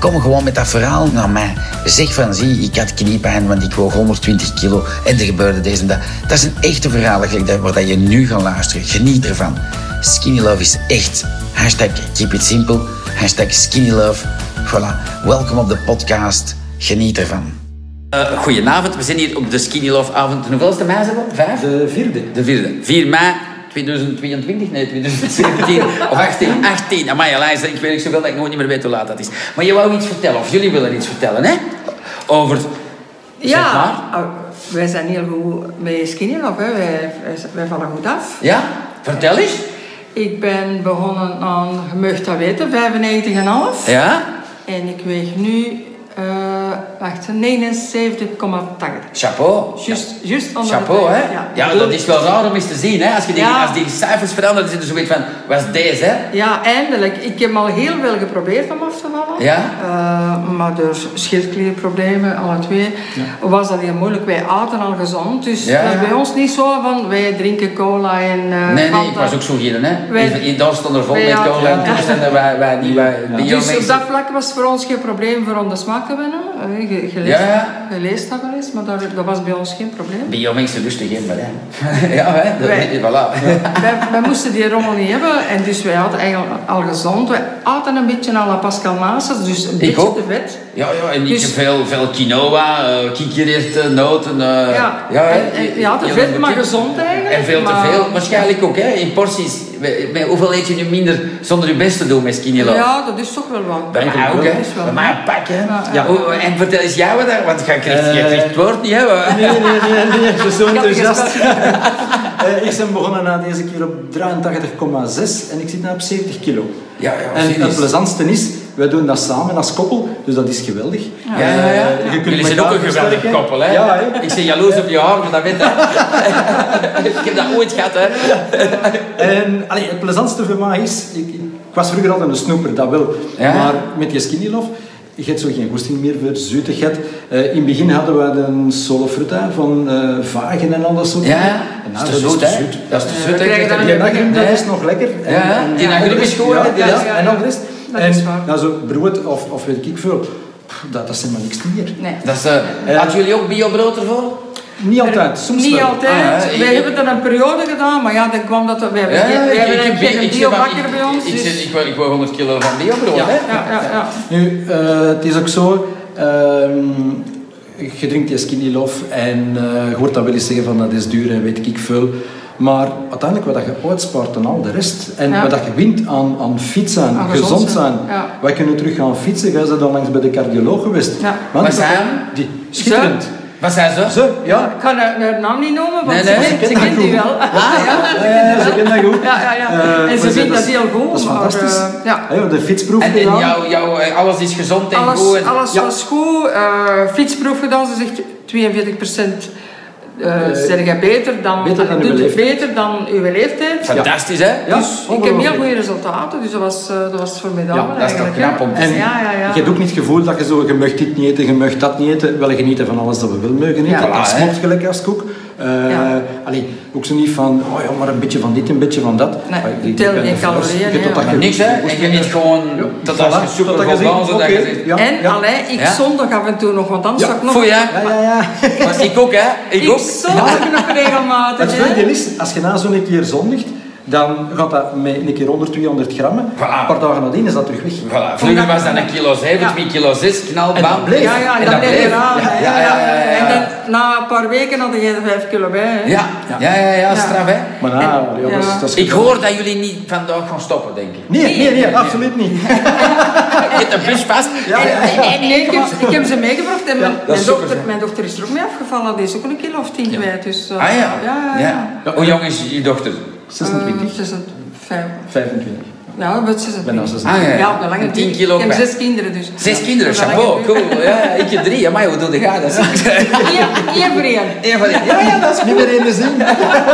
Kom gewoon met dat verhaal naar mij. Zeg van, zie, ik had kniepijn, want ik woog 120 kilo en er gebeurde deze en dat. Dat is een echte verhaal eigenlijk, dat- waar dat je nu gaat luisteren. Geniet ervan. Skinny Love is echt. Hashtag keep it simple. Hashtag skinny love. Voilà. Welkom op de podcast. Geniet ervan. Eh, goedenavond, we zijn hier op de Skinny Love avond. Hoeveel is de mei zijn we? Vijf? De vierde. De vierde. 4 mei 2022? Nee, 2017 of 18. 18. Amai, Elijah, ik weet niet zoveel dat ik nog niet meer weet hoe laat dat is. Maar je wou iets vertellen, of jullie willen iets vertellen, hè? Over... Zeg Ja, maar. ah, wij zijn heel goed met Skinny Love, hè. Wij, wij, wij vallen goed af. Ja? Vertel eens. Ik ben begonnen aan, je mag dat weten, 95,5. Ja? En ik weeg nu, eh wacht, 79,80. Chapeau. Juist, juist onder de Chapeau, vijf, hè? Ja, dat is wel raar om eens te zien, hè? Als, je die, Ja. als die cijfers veranderen, zit er zoiets van... Wat is deze, hè? Ja, eindelijk. Ik heb al heel veel geprobeerd om af te vallen. Ja? Eh, maar door schildklierproblemen, alle twee, was dat heel moeilijk. Wij aten al gezond, dus Ja, dat is ja. bij ons niet zo van wij drinken cola en eh Nee, nee, ik Fanta. was ook zo hier, hè? Wij- Wij, daar stond er vol Wij met hadden- cola en ja. toestanden waar, waar die... Waar, die Dus op jongens- dat vlak was het voor ons geen probleem voor om de smaak te winnen. Eh, Je, je, leest, Ja, ja. je leest dat wel eens, maar dat, dat was bij ons geen probleem. Bij jouw mensen lusten geen bereik. ja, hè? Dat, Wij- Voilà. wij, wij moesten die rommel niet hebben en dus wij hadden eigenlijk al gezond. Wij aten een beetje à la Pascal Nasus, dus een beetje ook. te vet. Ja, ja, en ik Dus- heb veel, veel quinoa, eh kikkererwten, noten. eh, Ja, hè, en- en- ja, te heel veel, veel maar kip. gezond eigenlijk, En veel maar- te veel, waarschijnlijk ook, hè? In porties. Bij- bij Hoeveel eet je nu minder zonder je best te doen met skinny love? Ja, dat is toch wel wat. Bij mij Ja, ook, hè? dat is wel Bij mij een pak, hè? Ja, ja. Oh, oh, en vertel eens jij wat daar, want jij krijgt, jij Eh, krijgt het woord niet, hè? Nee, nee, nee, nee, je is zo Ik had enthousiast. het Eh, ik ben begonnen na deze keer op 83,6 en ik zit nu op 70 kilo. Ja, ja, en serieus. het plezantste is, wij doen dat samen als koppel, dus dat is geweldig. Ja, ja, ja. Eh, je kunt Jullie zijn ook elkaar een geweldig versterken. koppel, hè? Ja, hè? Ik ben jaloers op je haar, maar dat weet ik. ik heb dat ooit gehad, hè? En allee, het plezantste voor mij is, ik, ik was vroeger altijd een snoeper, dat wel. Ja. Maar met je skinny love, je hebt zo geen goesting meer voor zoetigheid. Eh, in het begin hadden we een solo fruta van eh, vagen en al dat soort dingen. Ja, En dat nou, is te dat zoet, is te hè? zoet. Dat is te Ja, zoet, we hè? krijgen Dat- daar Die nagrim, dat Nee. is nog lekker. En, Ja, en- die en nagrim nog is rest, goed, hè? Ja, Ja, ja, ja, en ja. nog rest. Dat is En waar. nou, zo brood of, of weet ik veel, pff, dat, dat zijn maar niks meer. Nee. Dat is, eh, Eh. had jullie ook biobrood ervoor? Niet altijd, soms Niet wel. altijd. Ah, ja, wij ik- hebben dat een periode gedaan, maar ja, dat kwam dat we wij hebben, geen- wij hebben heb eigenlijk geen biobakker bij ons. Ik, dus- zit- ik, wou- ik wou 100 kilo van biobrood, Ja. hè? ja, ja, ja. Nu, eh, het is ook zo, ehm, je drinkt je skinny love en eh, je hoort dat wel eens zeggen van dat is duur en weet ik veel. Maar uiteindelijk wat dat je uitspaart aan al de rest en Ja. wat dat je wint aan, aan fietsen, Aan gezond gezond, zijn. zijn, ja. Wij kunnen terug gaan fietsen, jij bent onlangs bij de cardioloog geweest. Ja. Man, Was hij? Die, schitterend. Was hij zo? Ze, ja. Ik kan haar, haar naam niet noemen, want Nee, ze nee, kent- ze ze kent kent die wel. Ah, ja? Ja, ja, ja, Eh, ze kennen dat goed. Ja, ja, ja. Eh, En maar ze vindt dat heel goed, Dat is maar, fantastisch. eh, ja. Hey, we hebben de fietsproef En, en gedaan. jou, jou, eh, alles is gezond en goed. Alles, en- alles Ja. was goed. eh, fietsproef gedaan, ze zegt 42 procent. Eh, zeg jij beter dan, beter dan doet uw het leeftijd. beter dan uw leeftijd. Fantastisch, hè? Ja, Dus ik heb heel ongelooflijk. goede resultaten, dus dat was, eh, dat was formidabel. Ja, dat is toch eigenlijk, hè. knap om te En Ja, ja, ja. je hebt ook niet het gevoel dat je zo, je mag dit niet eten, je mag dat niet eten. Wel genieten van alles dat we wel mogen eten. Ja. Voilà, dat hè. smaakt gelijk als koek. Eh Ja. allee, ook zo niet van, oh ja, maar een beetje van dit, een beetje van dat. Nee, Maar tel geen ben de calorieën, vrouw, hè, je- totdat ja. je- Niks, hè? En je eet gewoon tot als je Voilà, super totdat vol je ziet, dansen, dat je oké, zegt- ja, en ja. allee, ik Ja. zondag af en toe nog, want anders Ja, zou ik nog... Voel je? Ja, ja, ja. Maar ik ook, hè? Ik, Ik ook. zondag nog Het regelmatig. hè. voordeel is, als je na zo'n keer zondigt, dan gaat dat met een keer 100, 200 gram. Een paar dagen nadien is dat terug weg. Voilà, vroeger was dat een kilo 7, Ja. 2 kilo 6, knal, En bam. dat bleef. Ja, ja, en, En dat dat bleef bleef. eraan. Ja, hè. ja, ja, ja, ja. En dan, na een paar weken had je er vijf kilo bij. hè. Ja, ja, ja, ja, Ja. straf, hè? Maar nou, ja, dat is- dat is Ik hoor dat jullie niet vandaag gaan stoppen, denk ik. Nee, nee, nee, absoluut niet. Ah. Je hebt de bus vast. Ja, ja. Nee, ik, heb, ze- ik heb ze meegebracht en mijn, dat mijn, is dochter, super, mijn dochter is er ook mee afgevallen. Die is ook een kilo of tien kwijt. Dus, eh, Ah ja. ja, ja, ja. Hoe jong is je dochter? Eh, 26, ze is een vijf. 25. Ja, wat is het? Bijna 26. Ah, ja. Ja, op een lange Een tien duur. kilo Ik heb kwijt. zes kinderen dus. Zes Ja, kinderen, op een lange chapeau, duur. cool. Ja, ik heb drie, amai, hoe doe je dat? Dat is- Eén- één voor één. Eén van die- Ja, ja, dat is Niet meer in de zin.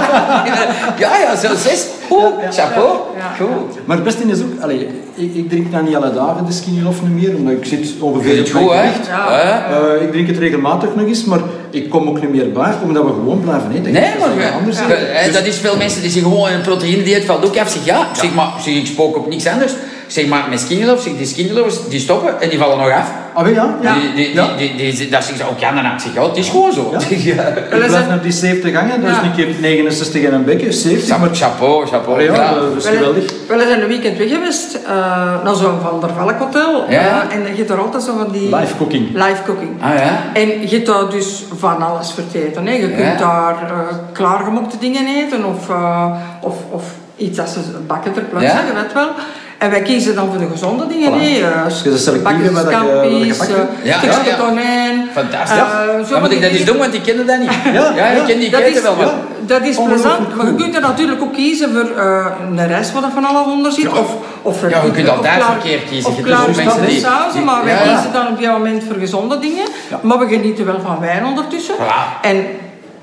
Ja, ja, zo zes. Oeh, chapeau. Ja. Cool. Maar het beste is ook, allee, ik, ik drink dan niet alle dagen de skinny lof niet meer, omdat ik zit ongeveer Vind op je mijn goed, hè? gewicht. Ja. Ja. Eh, ik drink het regelmatig nog eens, maar ik kom ook niet meer bij, omdat we gewoon blijven eten. Nee, Dat is maar wat anders. ja. hè. Eh, Dus- dat is veel mensen die zich gewoon een proteïne-dieet valt ook af. Zeg, ja, Ik zeg maar, ik zeg, ik spook op niks anders. Ik Zeg maar, mijn skinnylof, zeg, die skinnylovers, die stoppen en die vallen nog af. Ah, wel, ja? ja. Die, die, ja. die, die, die, dat zeg ze ook, ja, dan ik zeg, ja, het is gewoon zo. Ja. Ja. Ik blijf naar die 70 gangen, dus Ja. een keer 69 en een bekje, 70. Maar, Chapeau, chapeau. maar ja, ja. dat is Wel- geweldig. Wel, We zijn een weekend weg geweest eh, naar zo'n Van der Valk hotel. Ja. eh, en je hebt er altijd zo van die... Live cooking. Live cooking. Ah ja? En je hebt daar dus van alles vergeten. Hè. Je Ja. kunt daar eh, klaargemokte dingen eten of, eh, of, of iets dat ze bakken ter plaatse, Ja. je weet wel. En wij kiezen dan voor de gezonde dingen. Voilà. hè. Eh, Dus je bent selectief bakjes in wat dat je- wat dat je scampi's, bakt, hè? eh, Ja, stukje ja, ja. tonijn. Fantastisch. eh, zo dan van moet die ik dat eens dingen. doen, want ik kende dat niet. Ja, ik ja. ken die Dat keten is, wel. ja, maar- dat is Ongelooflijk plezant, maar je goed. kunt er natuurlijk ook kiezen voor eh, een rest wat er van alles onder zit. Of, of Ja, je kunt of altijd klaar- verkeerd kiezen. Of Je hebt dus klaar ook mensen die- sauzen, maar Ja, wij ja. kiezen dan op dit moment voor gezonde dingen. Ja. Maar we genieten wel van wijn ondertussen. Voilà. En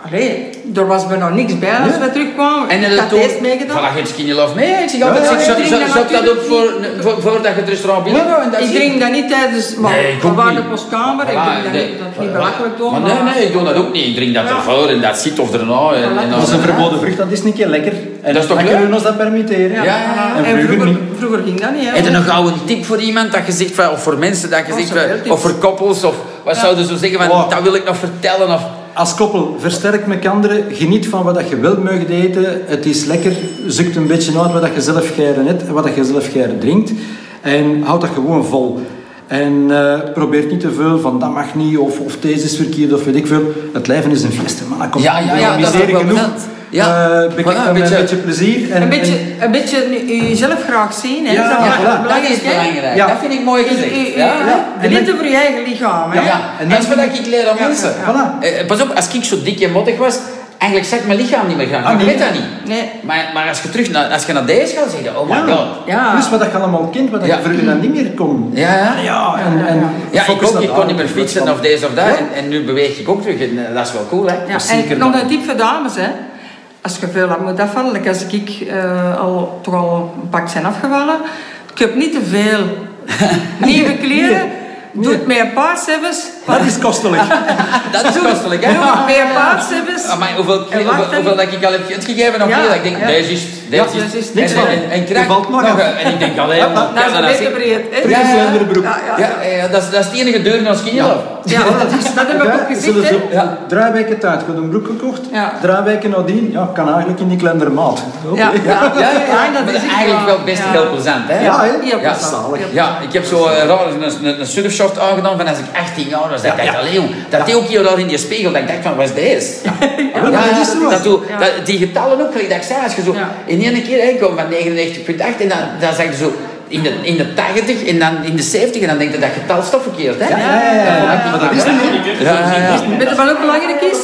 allee, er was bijna niks bij als Ja. we terugkwamen. En ik dan had toen, eerst meegedaan. voilà, je hebt skinny love mee. Ik zeg altijd, Ja, zeg, ja, zo- ik zo- drink dat zet dat op voor, natuurlijk niet. voor, voordat je het restaurant binnen Oh, gaat. en dat ik zie je. drink dat niet tijdens... Maar Nee, ik we ook waren niet. op ons kamer. ik Voilà, drink dat nee. niet, dat is niet belachelijk doen. Maar nee, nee, ik doe dat ook niet. Ik drink dat Ja. ervoor en dat zit of erna. En, en Dat is een dan- verboden vrucht, dat is een keer lekker. En Dat is toch dan leuk? kunnen we ons dat permitteren. Ja, Ja, ja, ja. En, En vroeger vroeger, niet. vroeger ging dat niet. hè. Heb je nog gauw een tip voor iemand dat je zegt, van- of voor mensen dat je Oh, zegt, zoveel van- tips. of voor koppels, of wat zouden ze zeggen van, Wow. dat wil ik nog vertellen, of... Als koppel, versterk mekander, geniet van wat dat je wilt mogen eten. Het is lekker, zoekt een beetje uit wat dat je zelf garen hebt en wat dat je zelf garen drinkt. En houd dat gewoon vol. En eh probeer niet te veel van dat mag niet, of, of deze is verkeerd, of weet ik veel. Het leven is een feest, man. Dat komt Ja, ja, ja, dat is miserie ook wel genoeg. belangrijk. Ja. Eh, bekijk Voilà, dat een met beetje- een beetje plezier. En, Een beetje, en- een beetje jezelf graag zien. Hè? Ja, dat, ja, belangrijk- voilà. Dat is hè. belangrijk. Ja. Dat vind ik mooi Dus, gezegd. eh, Ja. eh, Ja. De liefde voor je eigen lichaam. Hè? Ja, en en dat dan is wat ik leer aan Ja, mensen. ja. Voilà. Eh, eh, pas op, als ik zo dik en mottig was, eigenlijk zag mijn lichaam niet meer gaan. Ah, ik nee. weet dat niet. Nee. Maar, maar als je terug naar, als je naar deze gaat, zeg je, oh my god. Ja. Dus wat dat je allemaal kent, wat dat Ja. je vroeger dan niet meer kon. Ja, ja. Ja, en, en Ja, ik focus ook. dat Ik kon aan. niet meer fietsen of deze of dat. En, en nu beweeg ik ook terug. En eh, dat is wel cool, hè? Ja, zeker en nog dan. een tip voor dames. Hè? Als je veel aan moet afvallen, like als ik eh, al, toch al een pak zijn afgevallen, ik heb niet te veel nieuwe kleren. Doe het met een paar sevens. Dat is kostelijk. Dat is kostelijk, hè? Doe het met een paar sevens. Ah, maar hoeveel, En hoeveel, wacht, hè. hoeveel dat ik al heb gegeven nog Ja, meer, dat ik denk, ja. deze is het, Ja, deze is deze is het. niks En- van. En, en Er krijg valt nog af. een. En ik denk, alleen maar... Dat is een beetje breed. hè. Prinses ja. Lenderbroek. Ja, ja. Ja, eh, ja, dat is, dat is de enige deur naar Skinjelov. Ja, dat, is, dat heb ik ook gezien. zullen hè. ze Ja. draaiwijken tijd. Ik had een broek gekocht. Ja. Draaiwijken nadien. Ja, kan eigenlijk in die kleinere maat. Oké. Ja, ja, Ja, ja, ja. dat Maar is eigenlijk wel best heel plezant, hè? Ja, hè? Heel Ja, plezant. zalig. Heel Ja, ik heb zo eh, raar een, een, een surfshort aangedaan van als ik 18 jaar was. Dat dacht ik, allee, jong, dat deed ook heel raar in die spiegel. Dat ik dacht van, wat is deze? Ja, maar dat is zo. dat doe- Ja. dat- die getallen ook, gelijk dat ik zei, als je zo Ja. in één keer hè, komt van 99,8 en dan, dan zeg je zo in de, in de 80 en dan in de 70 en dan denk je dat getal is toch verkeerd, hè? Ja, ja, ja, ja, ja. Maar dat is niet. ja, ja. ja. Weet je wat ook belangrijk is?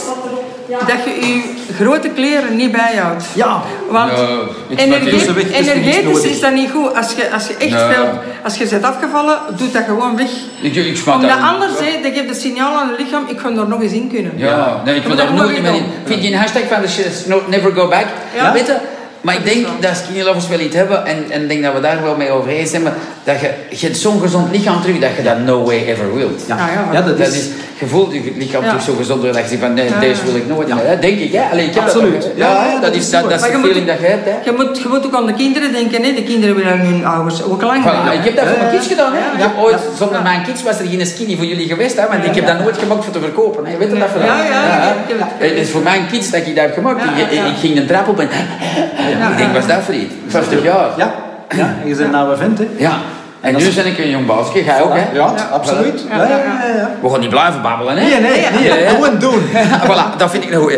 Dat je je grote kleren niet bijhoudt. Ja. Want Nou, iets energe- wat tussenweg is niks energetisch nodig. is dat niet goed. Als je, als je echt Nou. veel, als je bent afgevallen, doe dat gewoon weg. Ik, ik smaak Omdat dat niet. anders, hè, dat geeft het signaal aan het lichaam, ik ga er nog eens in kunnen. Ja, nee, ik wil Maar daar dat nooit moet meer ik in. ook. Vind je een hashtag van de shit, no- never go back? Ja. Weet je? Maar ik Dat is denk wel. dat skinny lovers wel iets hebben en en ik denk dat we daar wel mee over eens zijn, maar dat je, je hebt zo'n gezond lichaam terug dat je dat no way ever wilt. Ja, ja. Dat dat is, is... je voelt je lichaam Ja. terug zo gezond door dat je zegt van nee, Ja. deze wil ik nooit Ja. meer. hè? Denk ik, hè? Allee, ik heb dat Absoluut. ook, hè? Ja, Ja, ja, dat dat is is dat zo. dat is Maar de je moet- feeling dat je hebt, hè? Je moet, je moet ook aan de kinderen denken, hè. de kinderen willen hun ouders ook lang Voilà, ik heb dat voor mijn kids gedaan. Hè. Ik heb Ja. ooit, Ja. zonder mijn kids was er geen skinny voor jullie geweest. Hè, want ik heb dat nooit gemaakt voor te verkopen. Hè. Weet je dat verhaal? Ja, ja, ja, ik heb het hè. Het is voor mijn kids dat ik dat heb gemaakt. Ja, ik, ja, ja. ik ging een trap op en... Ik denk, was dat voor iets? 50 jaar. Ja. Ja, en je bent een oude vent, hè. Ja. En nu ben ik een jong baasje. Ga ook, hè? Ja, absoluut. Ja, Ja, ja, ja, ja. ja. ja. We gaan niet blijven babbelen, hè? Nee, nee, nee. Gewoon doen. voilà, dat vind ik een goeie.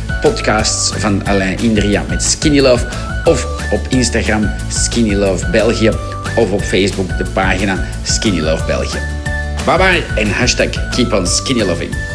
podcasts van Alain Indria met Skinny Love. Of op Instagram Skinny Love België. Of op Facebook de pagina Skinny Love België. Bye bye en hashtag keep on skinny loving.